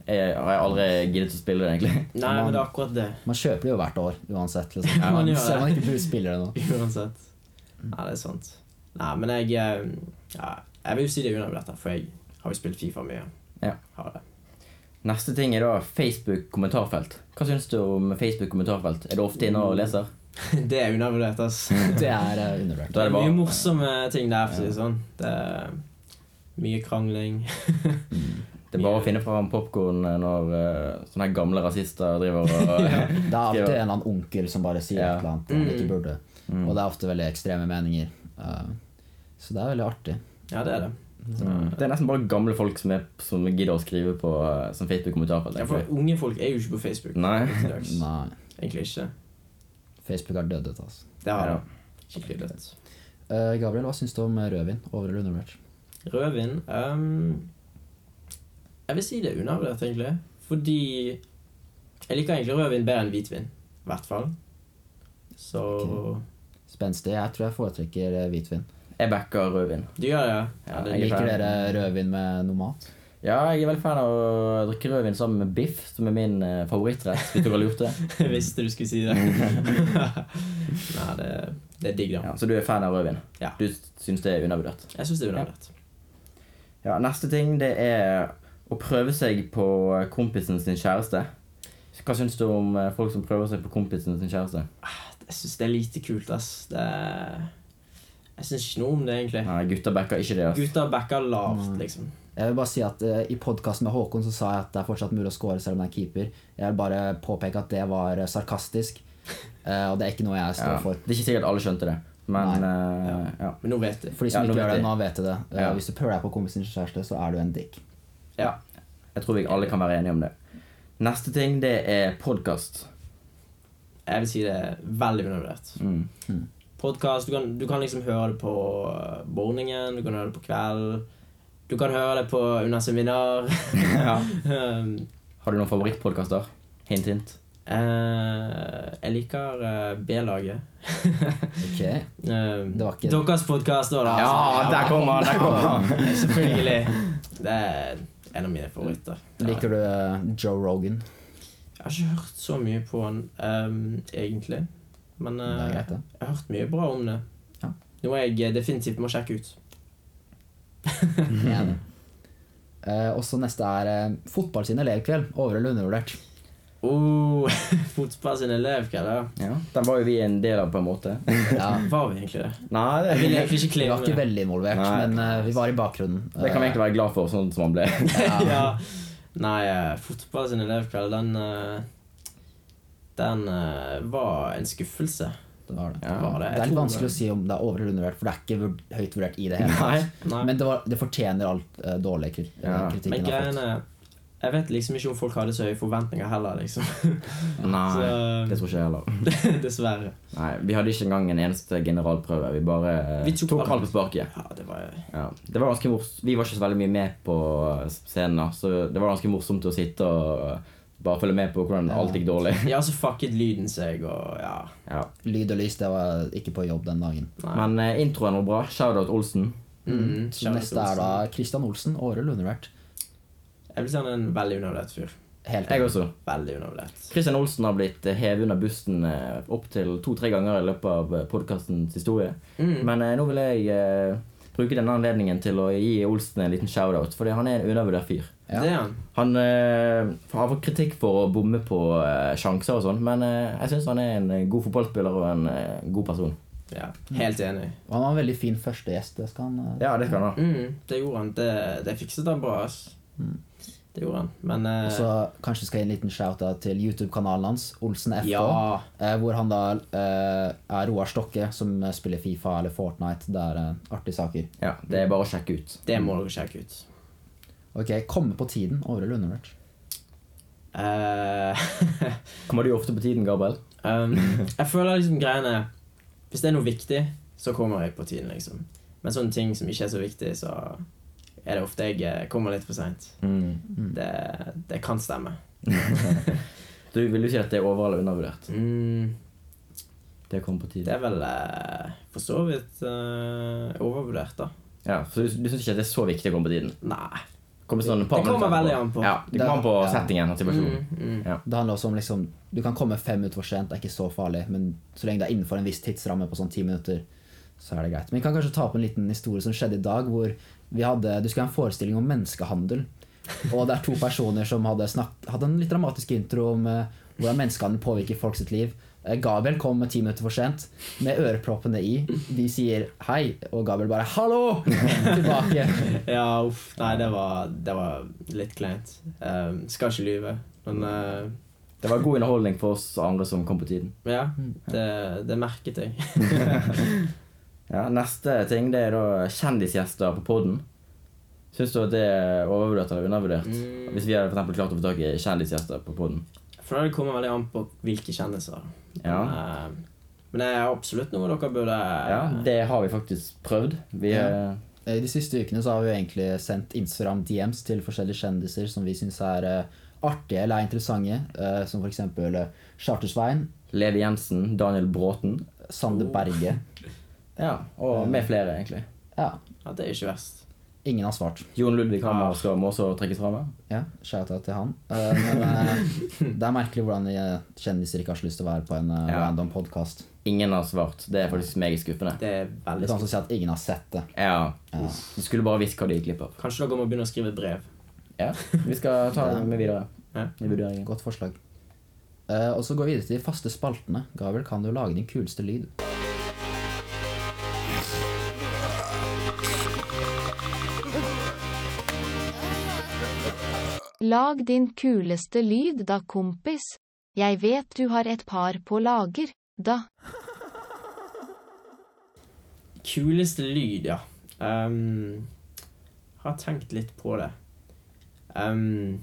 [SPEAKER 1] jeg, har jeg aldri giddet å spille det, egentlig.
[SPEAKER 5] nei, men det er akkurat det.
[SPEAKER 4] Man kjøper det jo hvert år uansett. Liksom.
[SPEAKER 5] Ja, man gjør det.
[SPEAKER 4] Selv om man ikke spiller det nå.
[SPEAKER 5] Uansett. Ja, det er sant. Nei, men jeg eh, ja, Jeg vil jo si det under dette, for jeg har jo spilt Fifa mye.
[SPEAKER 1] Ja.
[SPEAKER 5] Har det.
[SPEAKER 1] Neste ting er da Facebook-kommentarfelt. Hva syns du om Facebook-kommentarfelt? Er du ofte inne og leser?
[SPEAKER 5] Det er undervurdert, ass.
[SPEAKER 4] Det er eh, undervurdert.
[SPEAKER 1] Da er det bare-
[SPEAKER 5] Mye morsomme ting der, for å si det sånn. Det er mye krangling.
[SPEAKER 1] Det er bare å finne fram popkorn når eh, sånne her gamle rasister driver og
[SPEAKER 4] Det er alltid
[SPEAKER 1] Skriver.
[SPEAKER 4] en eller annen onkel som bare sier
[SPEAKER 1] Ja.
[SPEAKER 4] et eller annet han ikke
[SPEAKER 5] Mm.
[SPEAKER 4] burde. Og det er ofte veldig ekstreme meninger. Eh, så det er veldig artig.
[SPEAKER 5] Ja, det er det.
[SPEAKER 1] Mm. Det er nesten bare gamle folk som, er, som gidder å skrive på eh, som Facebook-kommentarfelt.
[SPEAKER 5] Ja, for
[SPEAKER 1] egentlig.
[SPEAKER 5] unge folk er jo ikke på Facebook.
[SPEAKER 1] Nei.
[SPEAKER 5] til dags.
[SPEAKER 4] Nei,
[SPEAKER 5] Egentlig ikke.
[SPEAKER 4] Facebook har dødd ut, altså.
[SPEAKER 5] Det har
[SPEAKER 1] Ja.
[SPEAKER 5] det. Skikkelig dødt.
[SPEAKER 4] Eh, Gabriel, hva syns du om rødvin? Over eller undervurdert?
[SPEAKER 5] Rødvin ehm, Jeg vil si det er undervurdert, egentlig. Fordi jeg liker egentlig rødvin bedre enn hvitvin. I hvert fall. Så
[SPEAKER 4] Ok. Spenstig. Jeg tror jeg foretrekker eh, hvitvin.
[SPEAKER 1] Jeg backer rødvin.
[SPEAKER 5] Du gjør det?
[SPEAKER 1] Ja,
[SPEAKER 5] det
[SPEAKER 1] Jeg er
[SPEAKER 4] Liker
[SPEAKER 1] fan.
[SPEAKER 4] dere rødvin med noe mat?
[SPEAKER 1] Ja, jeg er veldig fan av å drikke rødvin sammen med biff, som er min eh, favorittrett. Hvis du har lurt det.
[SPEAKER 5] jeg visste du skulle si det. Nei, det, det er digg, da.
[SPEAKER 1] Ja, så du er fan av rødvin?
[SPEAKER 5] Ja.
[SPEAKER 1] Du syns det er undervurdert?
[SPEAKER 5] Jeg syns det er undervurdert.
[SPEAKER 1] Ja, neste ting det er å prøve seg på eh, kompisen sin kjæreste. Hva syns du om eh, folk som prøver seg på kompisen sin kjæreste?
[SPEAKER 5] Jeg syns det er lite kult, ass. Det er... Jeg syns ikke noe om det, egentlig.
[SPEAKER 1] Nei, gutter backer ikke det. altså. ass.
[SPEAKER 5] Gutta backer lavt, liksom.
[SPEAKER 4] Jeg vil bare si at eh, I podkasten med Håkon så sa jeg at det er fortsatt mulig å score selv om det er keeper. Jeg vil bare påpeke at det var eh, sarkastisk, eh, og det er ikke noe jeg står
[SPEAKER 1] Ja.
[SPEAKER 4] for.
[SPEAKER 1] Det er ikke sikkert alle skjønte det, men eh, ja.
[SPEAKER 5] Men nå vet du.
[SPEAKER 4] For de som
[SPEAKER 1] Ja, nå
[SPEAKER 4] ikke gjør
[SPEAKER 1] vet
[SPEAKER 4] det,
[SPEAKER 1] jeg.
[SPEAKER 4] nå vet jeg det. Eh,
[SPEAKER 1] Ja.
[SPEAKER 4] Hvis du pøler deg på kompisen sin kjæreste, så er du en dick.
[SPEAKER 1] ja. Jeg tror vi alle kan være enige om det. Neste ting det er podkast.
[SPEAKER 5] Jeg vil si det er veldig undervurdert.
[SPEAKER 1] Mm.
[SPEAKER 5] Podcast, du, kan, du kan liksom høre det på eh, morgenen, du kan høre det på kvelden. Du kan høre det på under seminar.
[SPEAKER 1] Ja.
[SPEAKER 5] um,
[SPEAKER 1] Har du noen favorittpodkaster? Hint, hint.
[SPEAKER 5] eh, jeg liker eh, B-laget.
[SPEAKER 4] Ok,
[SPEAKER 5] Um,
[SPEAKER 4] Det var ikke-
[SPEAKER 5] Deres podkast òg, da.
[SPEAKER 1] Ja, der kommer han! Der kommer han.
[SPEAKER 5] Selvfølgelig. Det er en av mine favoritter.
[SPEAKER 4] Liker du eh, Joe Rogan?
[SPEAKER 5] Jeg har ikke hørt så mye på han um, egentlig. Men
[SPEAKER 4] Det er
[SPEAKER 5] eh,
[SPEAKER 4] greit, det.
[SPEAKER 5] jeg har hørt mye bra om det.
[SPEAKER 4] Ja.
[SPEAKER 5] Noe jeg eh, definitivt må sjekke ut.
[SPEAKER 4] Enig. Eh, og så neste er eh, fotball sin elevkveld. Over- eller undervurdert.
[SPEAKER 5] Oh, fotball sin elevkveld, ja.
[SPEAKER 1] Ja. Den var jo vi en del av, på en måte.
[SPEAKER 4] Ja,
[SPEAKER 5] Var vi egentlig det?
[SPEAKER 1] Nei, det,
[SPEAKER 5] Jeg vil egentlig ikke
[SPEAKER 4] vi
[SPEAKER 5] claime
[SPEAKER 4] var ikke
[SPEAKER 5] det.
[SPEAKER 4] veldig involvert,
[SPEAKER 1] Nei.
[SPEAKER 4] men eh, vi var i bakgrunnen.
[SPEAKER 1] det kan vi egentlig være glad for, sånn som han ble.
[SPEAKER 5] ja. Nei, eh, fotball sin elevkveld, den eh, Den eh, var en skuffelse.
[SPEAKER 4] Eh, Det var det.
[SPEAKER 5] Ja, var det.
[SPEAKER 4] Det er litt vanskelig å si om det er over- eller undervurdert, for det er ikke vurd- høyt vurdert i det hele
[SPEAKER 1] Nei.
[SPEAKER 4] tatt.
[SPEAKER 5] Nei.
[SPEAKER 4] Men det, var, det fortjener alt eh, dårlig kri-
[SPEAKER 1] Ja.
[SPEAKER 4] eh, kritikken
[SPEAKER 5] Men
[SPEAKER 4] har fått.
[SPEAKER 5] greiene Jeg vet liksom ikke om folk hadde så høye forventninger heller, liksom.
[SPEAKER 1] Nei, det
[SPEAKER 5] Så
[SPEAKER 1] tror ikke jeg heller.
[SPEAKER 5] dessverre.
[SPEAKER 1] Nei, Vi hadde ikke engang en eneste generalprøve. Vi bare eh,
[SPEAKER 5] Vi tok
[SPEAKER 1] tok
[SPEAKER 5] bare-
[SPEAKER 1] alt på sparket.
[SPEAKER 5] Ja, det var
[SPEAKER 1] Ja. Det var ganske mors Vi var ikke så veldig mye med på eh, scenen, da, så det var ganske morsomt å sitte og eh, bare følge med på hvordan alt gikk dårlig.
[SPEAKER 5] Ja, så fucket lyden seg, og ja.
[SPEAKER 1] Ja.
[SPEAKER 4] Lyd og lys, det var ikke på jobb den dagen.
[SPEAKER 5] Nei.
[SPEAKER 1] Men eh, introen var bra. Shoutout Olsen.
[SPEAKER 5] Mhm,
[SPEAKER 4] Mm, Så neste er da Christian Olsen. Over- eller undervurdert.
[SPEAKER 5] Jeg vil si han er en veldig undervurdert fyr.
[SPEAKER 4] Helt
[SPEAKER 1] Jeg også.
[SPEAKER 5] Veldig undervurdert.
[SPEAKER 1] Christian Olsen har blitt eh, hevet under bussen eh, opptil to-tre ganger i løpet av podkastens historie.
[SPEAKER 5] Mm.
[SPEAKER 1] Men eh, nå vil jeg eh, bruke denne anledningen til å gi Olsen en liten shoutout, fordi han er en undervurdert fyr.
[SPEAKER 4] Ja.
[SPEAKER 5] Det er han.
[SPEAKER 1] Han eh, har fått kritikk for å bomme på eh, sjanser og sånn, men eh, jeg syns han er en eh, god fotballspiller og en eh, god person.
[SPEAKER 5] Ja,
[SPEAKER 4] Mm.
[SPEAKER 5] helt enig.
[SPEAKER 4] Og han var en veldig fin første gjest. Det skal han eh,
[SPEAKER 1] Ja, det kan han.
[SPEAKER 5] Mm, det gjorde han. Det, det fikset han bra, ass. Det gjorde han. Men eh,
[SPEAKER 4] Mm. Og så kanskje skal jeg gi en liten shout-out til YouTube-kanalen hans, Olsen FK.
[SPEAKER 5] Ja.
[SPEAKER 4] eh, Hvor han da eh, er Roar Stokke, som eh, spiller Fifa eller Fortnite. Det er eh, artige saker.
[SPEAKER 1] Ja, Det er bare å sjekke ut.
[SPEAKER 5] det må dere sjekke ut.
[SPEAKER 4] Ok, Komme på tiden, over- eller undervurdert?
[SPEAKER 5] Eh,
[SPEAKER 1] Kommer du ofte på tiden, Gabriel?
[SPEAKER 5] um, jeg føler liksom greiene Hvis det er noe viktig, så kommer jeg på tiden, liksom. Men sånne ting som ikke er så viktig, så er det ofte jeg eh, kommer litt for seint.
[SPEAKER 4] Mm.
[SPEAKER 5] Det, det kan stemme.
[SPEAKER 1] Du vil jo si at det er over- eller undervurdert.
[SPEAKER 5] Mm,
[SPEAKER 1] Det kommer på
[SPEAKER 5] det
[SPEAKER 1] tiden.
[SPEAKER 5] er vel eh, for så vidt eh, overvurdert, da.
[SPEAKER 1] Ja, Så du, du syns ikke at det er så viktig å komme på tiden?
[SPEAKER 5] Nei.
[SPEAKER 1] Kommer sånn et par
[SPEAKER 5] Det kommer
[SPEAKER 1] minutter
[SPEAKER 5] veldig an på.
[SPEAKER 1] Ja, det kommer an på
[SPEAKER 4] Ja.
[SPEAKER 1] settingen og situasjonen.
[SPEAKER 5] Mm, mm.
[SPEAKER 4] Det handler også om liksom Du kan komme fem minutter for sent, det er ikke så farlig. Men så lenge det er innenfor en viss tidsramme på sånn ti minutter, så er det greit. Men vi kan kanskje ta opp en liten historie som skjedde i dag, hvor vi hadde Du skulle ha en forestilling om menneskehandel. Og det er to personer som hadde snakket Hadde en litt dramatisk intro om eh, hvordan menneskehandel påvirker folk sitt liv. Eh, Gabriel kom ti minutter for sent med øreproppene i. De sier hei, og Gabriel bare 'hallo' tilbake.
[SPEAKER 5] Ja, uff. Nei, det var, det var litt kleint. Ehm, skal ikke lyve. Men eh,
[SPEAKER 1] Det var god underholdning for oss andre som kom på tiden.
[SPEAKER 5] men ja, det, det merket jeg.
[SPEAKER 1] Ja, Neste ting det er da kjendisgjester på podden. Syns du at det er overvurdert eller undervurdert?
[SPEAKER 5] Mm.
[SPEAKER 1] Hvis vi hadde for eksempel klart å få tak i kjendisgjester på podden.
[SPEAKER 5] For det kommer veldig an på hvilke kjendiser.
[SPEAKER 1] Ja.
[SPEAKER 5] Men, eh, men det er absolutt noe dere burde eh,
[SPEAKER 1] Ja, det har vi faktisk prøvd. Vi,
[SPEAKER 4] Ja. Eh, De siste ukene så har vi jo egentlig sendt Instagram DMs til forskjellige kjendiser som vi syns er eh, artige eller er interessante. eh, som f.eks. Uh, Chartersveien,
[SPEAKER 1] Levi Jensen, Daniel Bråten
[SPEAKER 4] Sander Berge.
[SPEAKER 1] ja, og med flere, egentlig.
[SPEAKER 4] Ja,
[SPEAKER 5] Ja, det er ikke verst.
[SPEAKER 4] ingen har svart.
[SPEAKER 1] Jon Ludvig Hammer skal må også trekkes fram. her.
[SPEAKER 4] Ja, Shout-out til han. Eh, men eh, det er merkelig hvordan eh, kjendiser ikke har så lyst til å være på en eh,
[SPEAKER 1] Ja.
[SPEAKER 4] random podkast.
[SPEAKER 1] Ingen har svart. Det er faktisk meget skuffende.
[SPEAKER 5] Det er
[SPEAKER 4] Du
[SPEAKER 5] veldig
[SPEAKER 4] kan
[SPEAKER 5] skummelt.
[SPEAKER 4] også si at ingen har sett det.
[SPEAKER 1] Ja. Du skulle bare visst hva de gikk glipp av.
[SPEAKER 5] Kanskje dere må begynne å skrive brev.
[SPEAKER 1] Ja, Vi skal ta det med videre
[SPEAKER 5] Ja.
[SPEAKER 1] i vurderingen.
[SPEAKER 4] Godt forslag. Eh, og så går vi videre til de faste spaltene. Gabriel, kan du lage din kuleste lyd?
[SPEAKER 7] Lag din kuleste lyd da, kompis. Jeg vet du har et par på lager, da.
[SPEAKER 5] Kuleste lyd, ja. Um, har tenkt litt på det. Um,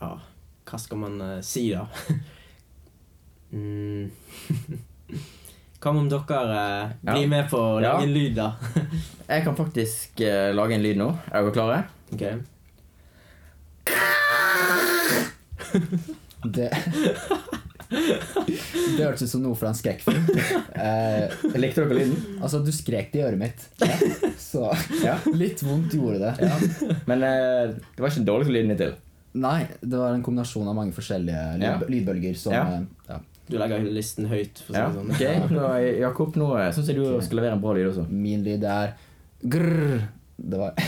[SPEAKER 5] ja, hva skal man eh, si, da? mm. Hva om dere eh, blir
[SPEAKER 1] Ja.
[SPEAKER 5] med på å
[SPEAKER 1] Ja.
[SPEAKER 5] lage en lyd, da?
[SPEAKER 1] Jeg kan faktisk eh, lage en lyd nå. Er dere klare?
[SPEAKER 5] Ok.
[SPEAKER 4] Det Det hørtes ut som noe fra en skrekkfilm. Eh,
[SPEAKER 1] Likte dere lyden?
[SPEAKER 4] altså, du skrek det i øret mitt. Så
[SPEAKER 1] Ja.
[SPEAKER 4] litt vondt gjorde det.
[SPEAKER 1] Men eh, det var ikke den dårligste lyden hittil.
[SPEAKER 4] Nei, det var en kombinasjon av mange forskjellige lyd,
[SPEAKER 1] Ja.
[SPEAKER 4] lydbølger som
[SPEAKER 1] Ja.
[SPEAKER 4] eh, ja.
[SPEAKER 5] Du legger listen høyt, for å si
[SPEAKER 1] Ja.
[SPEAKER 5] det sånn.
[SPEAKER 1] ok, eh, nå, Jakob, nå syns jeg du skal levere en bra lyd også.
[SPEAKER 4] Min lyd er grrr. Det var,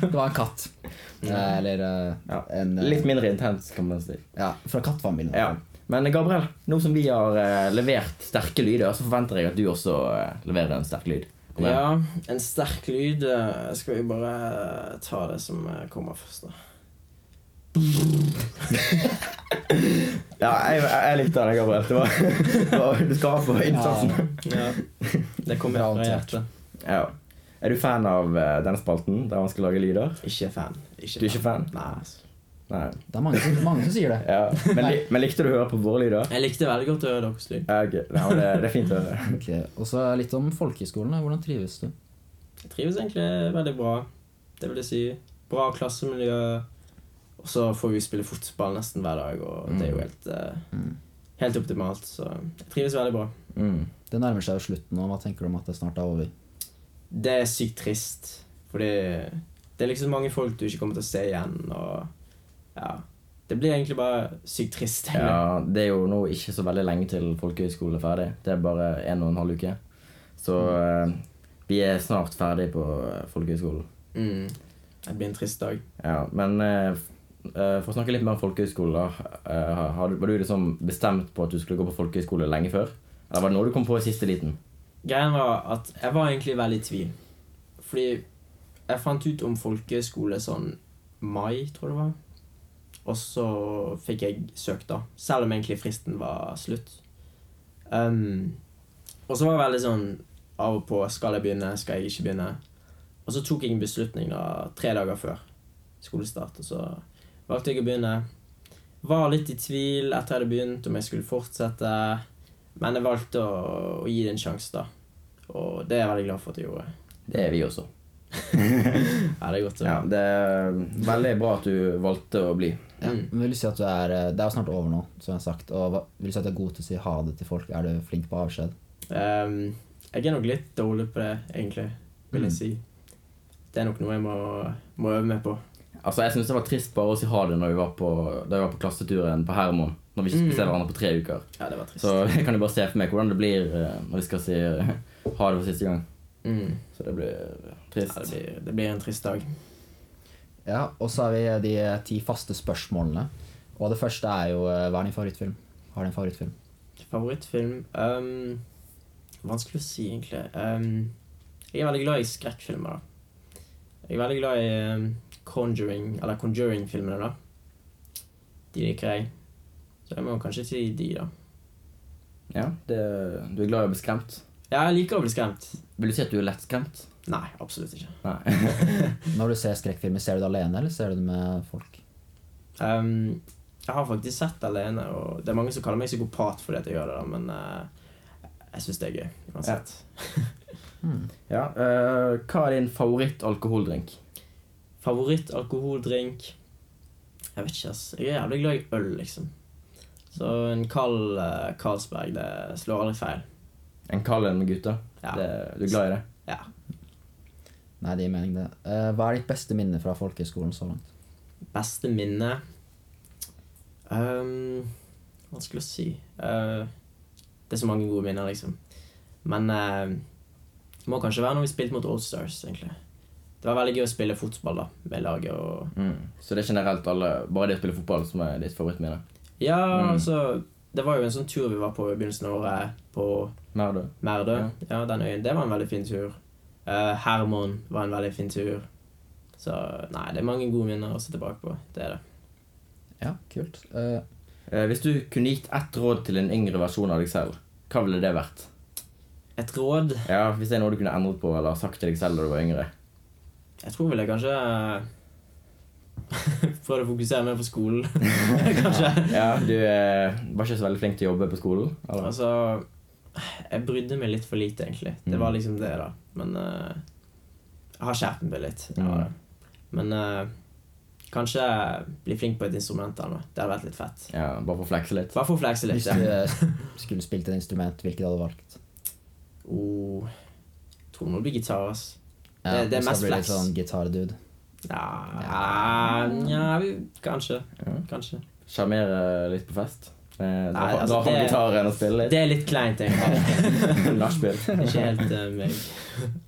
[SPEAKER 4] det var en katt. Eh, Eller eh,
[SPEAKER 1] Ja.
[SPEAKER 4] en eh,
[SPEAKER 1] Litt mindre intens, kan man si.
[SPEAKER 4] Ja, fra kattfamilien.
[SPEAKER 1] Ja. Men eh, Gabriel, nå som vi har eh, levert sterke lyder, så forventer jeg at du også eh, leverer en sterk lyd. Kom igjen.
[SPEAKER 5] Ja, en sterk lyd. eh, Skal vi bare eh, ta det som eh, kommer først, da.
[SPEAKER 1] Ja, jeg, jeg, jeg likte den, Gabriel. Det var, det var, du skal ha for innsatsen.
[SPEAKER 5] Ja. Det kommer
[SPEAKER 4] Bra
[SPEAKER 5] fra
[SPEAKER 4] håndtert.
[SPEAKER 5] hjertet.
[SPEAKER 1] Ja. Er du fan av eh, denne spalten, der man skal lage lyder?
[SPEAKER 5] Ikke fan. Ikke
[SPEAKER 1] Du er ikke fan?
[SPEAKER 5] Nei, altså.
[SPEAKER 1] Nei.
[SPEAKER 4] Det er mange som, mange som sier det.
[SPEAKER 1] Ja. Men, li, men likte du å høre på våre lyder?
[SPEAKER 5] Jeg likte veldig godt å høre deres lyd.
[SPEAKER 1] Ja, ok. Nei, men det, det er fint å høre.
[SPEAKER 4] Ok, Og så litt om folkehøyskolene. Hvordan trives du?
[SPEAKER 5] Jeg trives egentlig veldig bra. Det vil jeg si bra klassemiljø. Og så får vi spille fotball nesten hver dag, og det er jo helt, eh, helt optimalt. Så jeg trives veldig bra.
[SPEAKER 1] Mm.
[SPEAKER 4] Det nærmer seg jo slutten nå. Hva tenker du om at det snart er over?
[SPEAKER 5] Det er sykt trist, fordi det er liksom mange folk du ikke kommer til å se igjen, og ja. Det blir egentlig bare sykt trist. egentlig.
[SPEAKER 1] Ja, det er jo nå ikke så veldig lenge til folkehøyskolen er ferdig. Det er bare en og en halv uke. Så eh, vi er snart ferdig på eh, folkehøyskolen.
[SPEAKER 5] Mm. Det blir en trist dag.
[SPEAKER 1] Ja, men eh, f- eh, for å snakke litt mer om folkehøyskole, da. eh, har du- var du liksom bestemt på at du skulle gå på folkehøyskole lenge før? Eller var det noe du kom på i siste liten?
[SPEAKER 5] Greien var at jeg var egentlig veldig i tvil. Fordi jeg fant ut om folkeskole sånn mai, tror jeg det var. Og så fikk jeg søkt, da. Selv om egentlig fristen var slutt. Um, og så var jeg veldig sånn av og på Skal jeg begynne? Skal jeg ikke begynne? Og så tok jeg en beslutning da, tre dager før skolestart, og så valgte jeg å begynne. Var litt i tvil etter jeg hadde begynt, om jeg skulle fortsette. Men jeg valgte å, å gi det en sjanse, da. Og det er jeg veldig glad for at jeg gjorde.
[SPEAKER 1] Det er vi også.
[SPEAKER 5] Ja, det er godt å
[SPEAKER 1] Ja, det er veldig bra at du valgte å bli.
[SPEAKER 5] Mm.
[SPEAKER 4] Men vil du si at du er, eh, Det er jo snart over nå, som jeg har sagt. Og hva- vil du si at du er god til å si ha det til folk? Er du flink på avskjed?
[SPEAKER 5] Ehm, jeg er nok litt dårlig på det, egentlig, vil
[SPEAKER 1] Mm.
[SPEAKER 5] jeg si. Det er nok noe jeg må, må øve meg på.
[SPEAKER 1] Altså, Jeg syns det var trist bare å si ha det når vi var på, da vi var på klasseturen på Hermon. Når vi ikke skulle se hverandre på tre uker.
[SPEAKER 5] Ja, det var trist.
[SPEAKER 1] Så jeg kan jo bare se for meg hvordan det blir eh, når vi skal si eh, ha det for siste gang.
[SPEAKER 5] Mm.
[SPEAKER 1] Så det blir eh,
[SPEAKER 5] Ja, det,
[SPEAKER 1] trist.
[SPEAKER 5] blir, det blir en trist dag.
[SPEAKER 4] Ja, og så har vi eh, de ti faste spørsmålene. Og det første er jo eh, hva er din favorittfilm? Har du en favorittfilm?
[SPEAKER 5] Favorittfilm Ehm, Vanskelig å si, egentlig. Ehm, jeg er veldig glad i skrekkfilmer, da. Jeg er veldig glad i ehm, Conjuring, eller Conjuring-filmene, da. De liker jeg. Så jeg må kanskje si de, da.
[SPEAKER 1] Ja, det, Du er glad i å bli skremt.
[SPEAKER 5] Ja, jeg liker å bli skremt.
[SPEAKER 1] Vil du si at du er lett skremt?
[SPEAKER 5] Nei, absolutt ikke.
[SPEAKER 1] Nei.
[SPEAKER 4] Når du ser skrekkfilmer, ser du det alene, eller ser du det med folk?
[SPEAKER 5] Ehm, jeg har faktisk sett det alene, og det er mange som kaller meg psykopat fordi at jeg gjør det, da, men eh, jeg syns det er gøy uansett.
[SPEAKER 1] Ja, eh, Hva er din favoritt-alkoholdrink?
[SPEAKER 5] Favoritt alkoholdrink Jeg vet ikke, ass. Jeg er jævlig glad i øl, liksom. Så en kald eh, Carlsberg, det slår aldri feil.
[SPEAKER 1] En kald en med gutter?
[SPEAKER 5] Ja.
[SPEAKER 1] Det, du er glad i det?
[SPEAKER 5] Ja.
[SPEAKER 4] Nei, det gir mening, det. Eh, Hva er ditt beste minne fra folkehøyskolen så langt?
[SPEAKER 5] Beste minne Ehm, Vanskelig å si. Eh, det er så mange gode minner, liksom. Men eh, det må kanskje være når vi spilte mot All Stars, egentlig. Det var veldig gøy å spille fotball da, med laget. og...
[SPEAKER 1] Så det er generelt alle, bare det å spille fotball som er ditt favorittminne?
[SPEAKER 5] Ja,
[SPEAKER 1] Mm.
[SPEAKER 5] altså Det var jo en sånn tur vi var på i begynnelsen av året, på
[SPEAKER 1] Mer du?
[SPEAKER 5] Merdø. Ja. den øyen. Det var en veldig fin tur. Eh, Hermon var en veldig fin tur. Så nei, det er mange gode minner å se tilbake på. Det er det.
[SPEAKER 4] Ja, kult. Eh,
[SPEAKER 1] Eh, hvis du kunne gitt ett råd til en yngre versjon av deg selv, hva ville det vært?
[SPEAKER 5] Et råd
[SPEAKER 1] Ja, Hvis det er noe du kunne endret på eller sagt til deg selv da du var yngre?
[SPEAKER 5] Jeg tror vel jeg kanskje eh, Prøvde å fokusere mer på skolen, kanskje.
[SPEAKER 1] Ja, Du eh, var ikke så veldig flink til å jobbe på skolen? Eller?
[SPEAKER 5] Altså Jeg brydde meg litt for lite, egentlig. Det
[SPEAKER 4] Mm.
[SPEAKER 5] var liksom det, da. Men eh, jeg har skjerpet meg litt. Jeg har det. Men eh, kanskje bli flink på et instrument eller noe. Det hadde vært litt fett.
[SPEAKER 1] Ja, Bare for å flekse litt?
[SPEAKER 5] Bare for å flekse
[SPEAKER 4] hvis
[SPEAKER 5] litt.
[SPEAKER 4] du
[SPEAKER 5] Ja.
[SPEAKER 4] eh, skulle spilt et instrument, hvilket hadde du valgt?
[SPEAKER 5] Oh, jeg tror det må bli gitar, ass.
[SPEAKER 4] Ja,
[SPEAKER 5] Det- det er
[SPEAKER 4] hvis
[SPEAKER 5] mest
[SPEAKER 4] blir litt
[SPEAKER 5] flex.
[SPEAKER 4] Sånn gitardude.
[SPEAKER 5] Ja, ja vi, kanskje. Kanskje.
[SPEAKER 1] Sjarmere litt på fest? Eh, Dra fra-
[SPEAKER 5] Nei,
[SPEAKER 1] dra
[SPEAKER 5] altså,
[SPEAKER 1] fram
[SPEAKER 5] det-
[SPEAKER 1] gitaren og spille litt.
[SPEAKER 5] Det er litt kleint, egentlig.
[SPEAKER 1] Nachspiel.
[SPEAKER 5] Ikke helt eh, meg.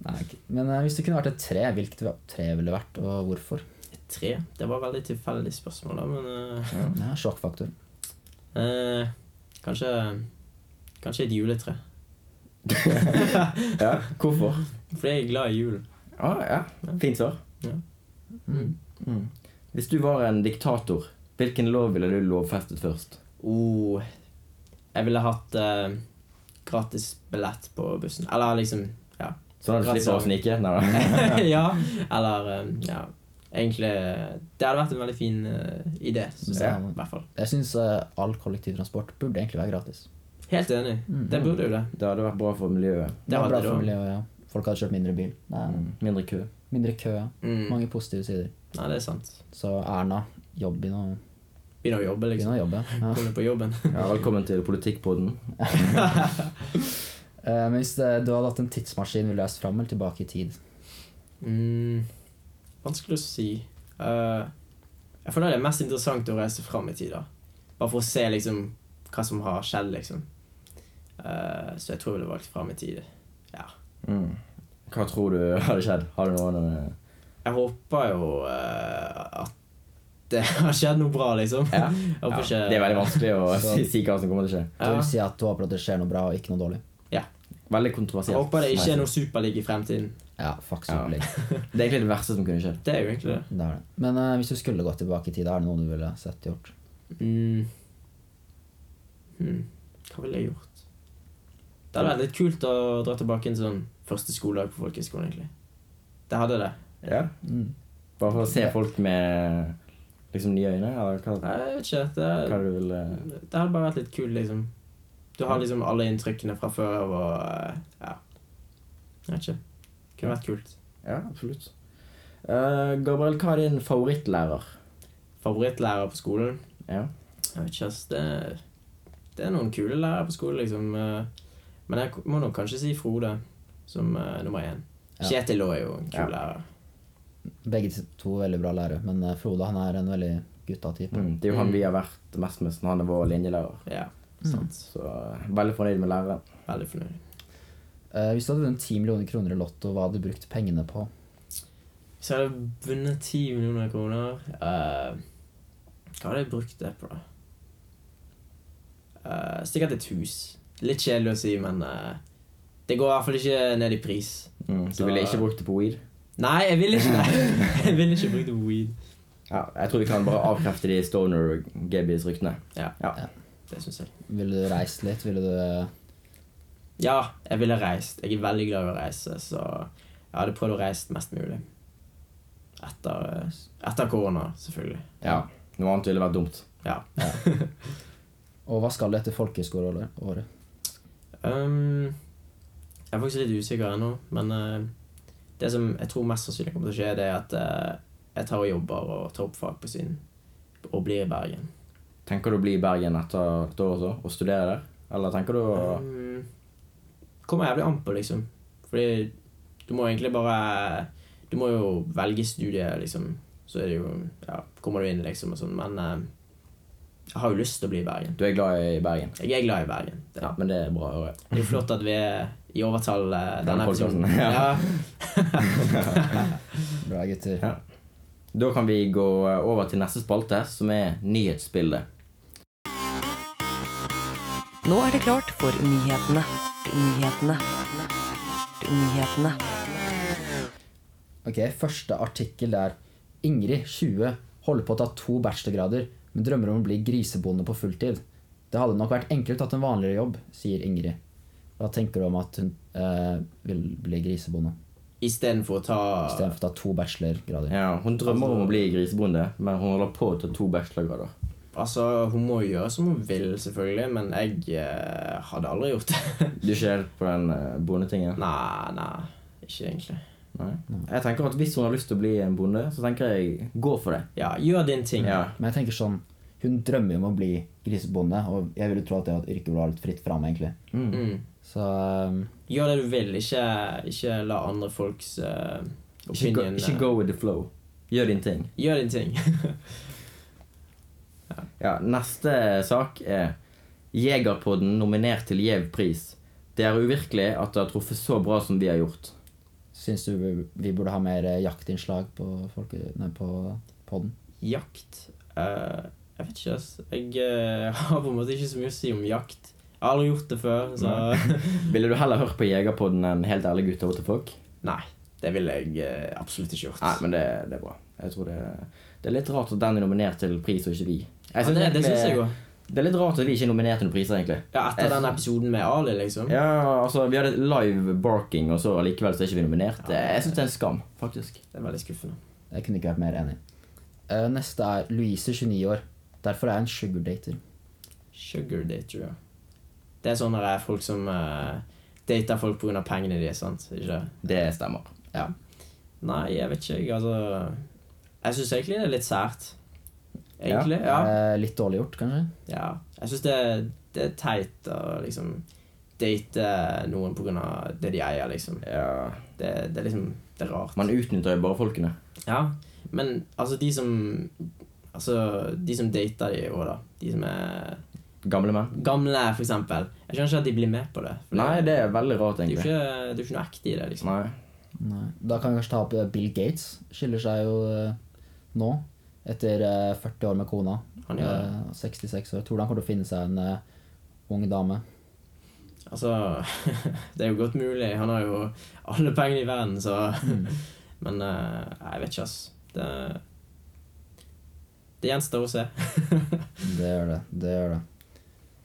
[SPEAKER 4] Nei, ok. Men eh, hvis det kunne vært et tre, hvilket tre ville det vært, og hvorfor?
[SPEAKER 5] Tre? Det var veldig tilfeldig spørsmål, da, men eh,
[SPEAKER 4] Ja, Sjokkfaktor.
[SPEAKER 5] eh, Kanskje Kanskje et juletre.
[SPEAKER 1] Ja, hvorfor?
[SPEAKER 5] Fordi jeg er glad i jul.
[SPEAKER 1] Ah, ja. Fint svar.
[SPEAKER 5] Ja.
[SPEAKER 1] Mm. Mm. Hvis du var en diktator, hvilken lov ville du lovfestet først?
[SPEAKER 5] Oh, jeg ville hatt eh, gratis billett på bussen. Eller liksom
[SPEAKER 1] Sånn at du slipper å
[SPEAKER 5] Altså-
[SPEAKER 1] snike? Nei da.
[SPEAKER 5] Ja. Eller eh, ja. Egentlig eh, Det hadde vært en veldig fin eh, idé. synes jeg,
[SPEAKER 4] Ja.
[SPEAKER 5] I hvert fall.
[SPEAKER 4] Jeg syns all kollektivtransport burde egentlig være gratis.
[SPEAKER 5] Helt enig.
[SPEAKER 1] Mm.
[SPEAKER 5] Det burde jo det.
[SPEAKER 1] Det hadde vært bra for miljøet.
[SPEAKER 5] Det
[SPEAKER 4] var
[SPEAKER 5] hadde
[SPEAKER 4] bra
[SPEAKER 5] det
[SPEAKER 4] for
[SPEAKER 5] også.
[SPEAKER 4] miljøet, ja. Folk hadde kjørt mindre bil. Det er
[SPEAKER 1] Mindre kø.
[SPEAKER 4] mindre kø. ja.
[SPEAKER 5] Mm.
[SPEAKER 4] Mange positive sider.
[SPEAKER 5] Nei, det er sant.
[SPEAKER 4] Så Erna, jobb begynn å,
[SPEAKER 5] Begynne å jobbe,
[SPEAKER 4] begynn
[SPEAKER 5] liksom.
[SPEAKER 4] å jobbe. Ja.
[SPEAKER 5] Begynne på jobben.
[SPEAKER 1] Ja, velkommen til Politikkpodden.
[SPEAKER 4] Eh, Men hvis eh, du hadde hatt en tidsmaskin, ville du reist fram eller tilbake i tid?
[SPEAKER 5] Mm, vanskelig å si. Eh, jeg føler det er mest interessant å reise fram i tid. da Bare for å se liksom hva som har skjedd, liksom. Eh, så jeg tror jeg ville valgt fram i tid.
[SPEAKER 1] Mm. Hva tror du hadde skjedd? Har du noen eh,
[SPEAKER 5] Jeg håper jo eh, at det har skjedd noe bra, liksom.
[SPEAKER 1] Ja.
[SPEAKER 5] Jeg håper
[SPEAKER 1] ja,
[SPEAKER 5] ikke
[SPEAKER 1] Det er veldig vanskelig å
[SPEAKER 4] Så-
[SPEAKER 1] si, si hva som kommer til å skje.
[SPEAKER 4] Du
[SPEAKER 5] Ja.
[SPEAKER 4] vil si at du håper at det skjer noe bra og ikke noe dårlig?
[SPEAKER 1] Veldig
[SPEAKER 5] Jeg
[SPEAKER 1] kontroversielt.
[SPEAKER 5] håper det ikke er
[SPEAKER 1] Nei,
[SPEAKER 5] noe superligg i fremtiden.
[SPEAKER 4] Ja, fuck
[SPEAKER 1] Ja.
[SPEAKER 4] Superlig.
[SPEAKER 1] Det er egentlig det verste som kunne skjedd.
[SPEAKER 5] Det er jo egentlig det.
[SPEAKER 4] Det er det. Men eh, hvis du skulle gått tilbake i tid, er det noe du ville sett gjort?
[SPEAKER 5] Mm. Hmm. Hva ville jeg gjort? Det hadde vært litt kult å dra tilbake en sånn første skoledag på folkehøyskolen, egentlig. Det hadde det.
[SPEAKER 1] Ja. Bare for å se folk med liksom nye øyne, eller hva,
[SPEAKER 5] Nei, jeg vet ikke.
[SPEAKER 1] hva
[SPEAKER 5] Det,
[SPEAKER 1] du vil eh,
[SPEAKER 5] det hadde bare vært litt kult, liksom. Du har liksom alle inntrykkene fra før av, og eh, ja. Jeg vet ikke. Kunne vært kult.
[SPEAKER 1] Ja, absolutt. Eh, Gabriel, hva er din favorittlærer?
[SPEAKER 5] Favorittlærer på skolen?
[SPEAKER 1] Ja.
[SPEAKER 5] Jeg vet ikke, ass. Det, det er noen kule lærere på skolen, liksom. eh, Men jeg må nok kanskje si Frode som eh, nummer én.
[SPEAKER 4] Ja.
[SPEAKER 5] Kjetil òg er jo en kul
[SPEAKER 1] Ja.
[SPEAKER 5] lærer.
[SPEAKER 4] Begge to veldig bra lærere, men eh, Frode han er en veldig gutta-type.
[SPEAKER 1] Mm, det er jo han vi har vært mest med, siden han er vår linjelærer.
[SPEAKER 5] Ja,
[SPEAKER 1] Mm.
[SPEAKER 5] sant.
[SPEAKER 1] Så eh, veldig fornøyd med læreren.
[SPEAKER 5] Veldig fornøyd.
[SPEAKER 4] Eh, hvis du hadde vunnet 10 millioner kroner i Lotto, hva hadde du brukt pengene på?
[SPEAKER 5] Hvis jeg hadde vunnet 10 millioner kroner eh, Hva hadde jeg brukt det på, da? Eh, sikkert et hus. Litt kjedelig å si, men eh, det går i hvert fall ikke ned i pris.
[SPEAKER 1] Mm, du
[SPEAKER 5] Så-
[SPEAKER 1] ville ikke brukt det på weed?
[SPEAKER 5] Nei, jeg vil ikke det! Jeg vil ikke bruke det på weed.
[SPEAKER 1] Ja, jeg tror vi kan bare avkrefte de stoner gebbies ryktene.
[SPEAKER 5] Det synes jeg.
[SPEAKER 4] Ville du reist litt? Ville du eh,
[SPEAKER 5] Ja, jeg ville reist. Jeg er veldig glad i å reise, så jeg hadde prøvd å reise mest mulig. Etter, eh, etter korona, selvfølgelig.
[SPEAKER 1] Ja. Noe annet ville vært dumt.
[SPEAKER 5] Ja.
[SPEAKER 4] Og hva skal du etter folkehøyskoleåret?
[SPEAKER 5] Um, jeg er faktisk litt usikker ennå, men eh, det som jeg tror mest sannsynlig kommer til å skje, det er at eh, jeg tar og jobber og tar opp fag på Syden og blir i Bergen.
[SPEAKER 1] Tenker du å bli i Bergen etter et år og så, og studere der? Eller tenker du å
[SPEAKER 5] Um, kommer jævlig an på, liksom. Fordi du må egentlig bare Du må jo velge studiet, liksom. Så er det jo Ja, kommer du inn, liksom, og sånn. Men eh, jeg har jo lyst til å bli i Bergen.
[SPEAKER 1] Du er glad i Bergen?
[SPEAKER 5] Jeg er glad i Bergen. Det
[SPEAKER 1] Ja, men det er bra å høre.
[SPEAKER 5] Det er jo flott at vi er i overtall eh, denne
[SPEAKER 1] Denne podcasten,
[SPEAKER 5] episoden.
[SPEAKER 1] ja.
[SPEAKER 5] Ja.
[SPEAKER 4] Bra, gutter.
[SPEAKER 1] Ja. Da kan vi gå over til neste spalte, som er nyhetsbildet.
[SPEAKER 8] Nå er det klart for nyhetene. Nyhetene. Nyhetene.
[SPEAKER 4] Ok, Første artikkel er Ingrid, 20, holder på å ta to bachelorgrader, men drømmer om å bli grisebonde på fulltid. Det hadde nok vært enklere tatt en vanligere jobb, sier Ingrid. Hva tenker du om at hun eh, vil bli grisebonde
[SPEAKER 5] Istedenfor å ta
[SPEAKER 4] istedenfor å ta to bachelorgrader?
[SPEAKER 1] Ja, hun drømmer om å bli grisebonde, men hun holder på å ta to bachelorgrader.
[SPEAKER 5] Altså, hun må jo gjøre som hun vil, selvfølgelig, men jeg eh, hadde aldri gjort det.
[SPEAKER 1] Du er ikke helt på den eh, bondetingen?
[SPEAKER 5] nei, nei, ikke egentlig.
[SPEAKER 1] Nei. Jeg tenker at Hvis hun har lyst til å bli en bonde, så tenker jeg gå for det.
[SPEAKER 5] Ja, gjør din ting.
[SPEAKER 1] Ja,
[SPEAKER 4] Men jeg tenker sånn Hun drømmer om å bli grisebonde, og jeg ville tro at det var et yrke hvor det var litt fritt fram, egentlig.
[SPEAKER 5] Mm.
[SPEAKER 4] Så eh,
[SPEAKER 5] Gjør det du vil, ikke, ikke la andre folks eh,
[SPEAKER 1] ikke, go,
[SPEAKER 5] opinion
[SPEAKER 1] ikke
[SPEAKER 5] eh,
[SPEAKER 1] go with the flow. Gjør din ting.
[SPEAKER 5] Gjør din ting.
[SPEAKER 1] Ja, Neste eh, sak er Jegerpodden nominert til Gjev-pris. Det er uvirkelig at det har truffet så bra som vi har gjort.
[SPEAKER 4] Syns du vi- vi burde ha mer eh, jaktinnslag på, folke, nei, på podden?
[SPEAKER 5] Jakt eh, Jeg vet ikke, ass. Jeg eh, har på en måte ikke så mye å si om jakt. Jeg har aldri gjort det før, så
[SPEAKER 1] Ville du heller hørt på Jegerpodden enn Helt ærlig gutter, what the fuck?
[SPEAKER 5] Nei. Det ville jeg eh, absolutt ikke gjort.
[SPEAKER 1] Nei, men det, det er bra. Jeg tror det, det er litt rart at den er nominert til pris, og ikke vi. Jeg
[SPEAKER 5] ja,
[SPEAKER 1] synes
[SPEAKER 5] det, det
[SPEAKER 1] egentlig-
[SPEAKER 5] syns jeg òg.
[SPEAKER 1] Det er litt rart at vi ikke er nominert til noen priser, egentlig.
[SPEAKER 5] Ja, etter den episoden med Ali, liksom.
[SPEAKER 1] Ja, altså, Vi hadde live barking, og så likevel så er ikke vi nominert. Jeg syns det er en skam, faktisk.
[SPEAKER 5] Det er veldig skuffende.
[SPEAKER 4] Jeg kunne ikke vært mer enig. Eh, Neste er Louise, 29 år. Derfor er jeg en sugardater.
[SPEAKER 5] Sugar dater, ja. Det er sånne der folk som eh, dater folk pga. pengene de er, sant? Ikke det?
[SPEAKER 1] Det stemmer.
[SPEAKER 5] Nei, jeg vet ikke. Jeg, altså, jeg syns egentlig det er litt sært. Egentlig. Ja.
[SPEAKER 4] Eh, Litt dårlig gjort, kanskje?
[SPEAKER 5] ja. Jeg syns det, det er teit å liksom date eh, noen pga. det de eier, liksom.
[SPEAKER 1] Ja.
[SPEAKER 5] Det, det er liksom Det er rart.
[SPEAKER 1] Man utnytter jo bare folkene.
[SPEAKER 5] Ja. Men altså, de som Altså, de som dater de òg, da. De som er
[SPEAKER 1] Gamle menn.
[SPEAKER 5] gamle, for eksempel. Jeg skjønner ikke at de blir med på det. for
[SPEAKER 1] Nei, det er veldig rart,
[SPEAKER 5] det er jo
[SPEAKER 1] egentlig.
[SPEAKER 5] ikke, det er jo ikke noe ekte i det, liksom.
[SPEAKER 1] Nei.
[SPEAKER 4] Nei. Da kan vi kanskje ta opp eh, Bill Gates. Skiller seg jo eh, nå, etter eh, 40 år med kona.
[SPEAKER 5] Han gjør det.
[SPEAKER 4] Eh, 66 år. Tror du han kommer til å finne seg en eh, ung dame?
[SPEAKER 5] Altså, det er jo godt mulig. Han har jo alle pengene i verden, så Men eh, jeg vet ikke, ass. Det, det gjenstår å se.
[SPEAKER 4] Det gjør det. det gjør det.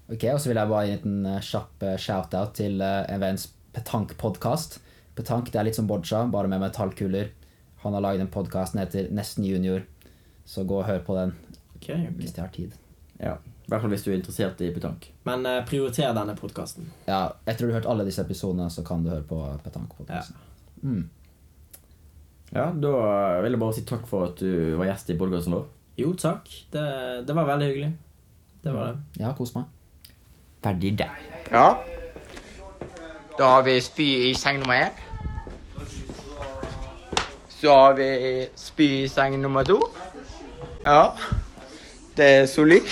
[SPEAKER 4] Ok, Og så vil jeg bare gi en liten eh, kjapp eh, shout-out til eh, en venns Petank-podkast. Petank det er litt som boccia, bare med metallkuler. Han har lagd en podkast som heter Nesten junior, så gå og hør på den
[SPEAKER 5] Ok,
[SPEAKER 4] hvis de har tid.
[SPEAKER 1] Ja. I hvert fall hvis du er interessert i petank.
[SPEAKER 5] Men eh, prioriter denne podkasten.
[SPEAKER 4] Ja, Etter du har hørt alle disse episodene, så kan du høre på Petank-podkasten.
[SPEAKER 1] Ja, da vil jeg bare si takk for at du var gjest i podkasten vår.
[SPEAKER 5] Jo, takk. Det, det var veldig hyggelig. Det var det.
[SPEAKER 4] Jeg har kost meg.
[SPEAKER 1] Ferdig der.
[SPEAKER 9] Ja. Da har vi spy i seng nummer én. Så har vi spy i seng nummer to. Ja, det er solid.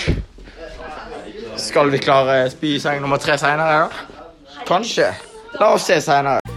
[SPEAKER 9] Skal vi klare spy i seng nummer tre seinere, da? Kanskje. La oss se seinere.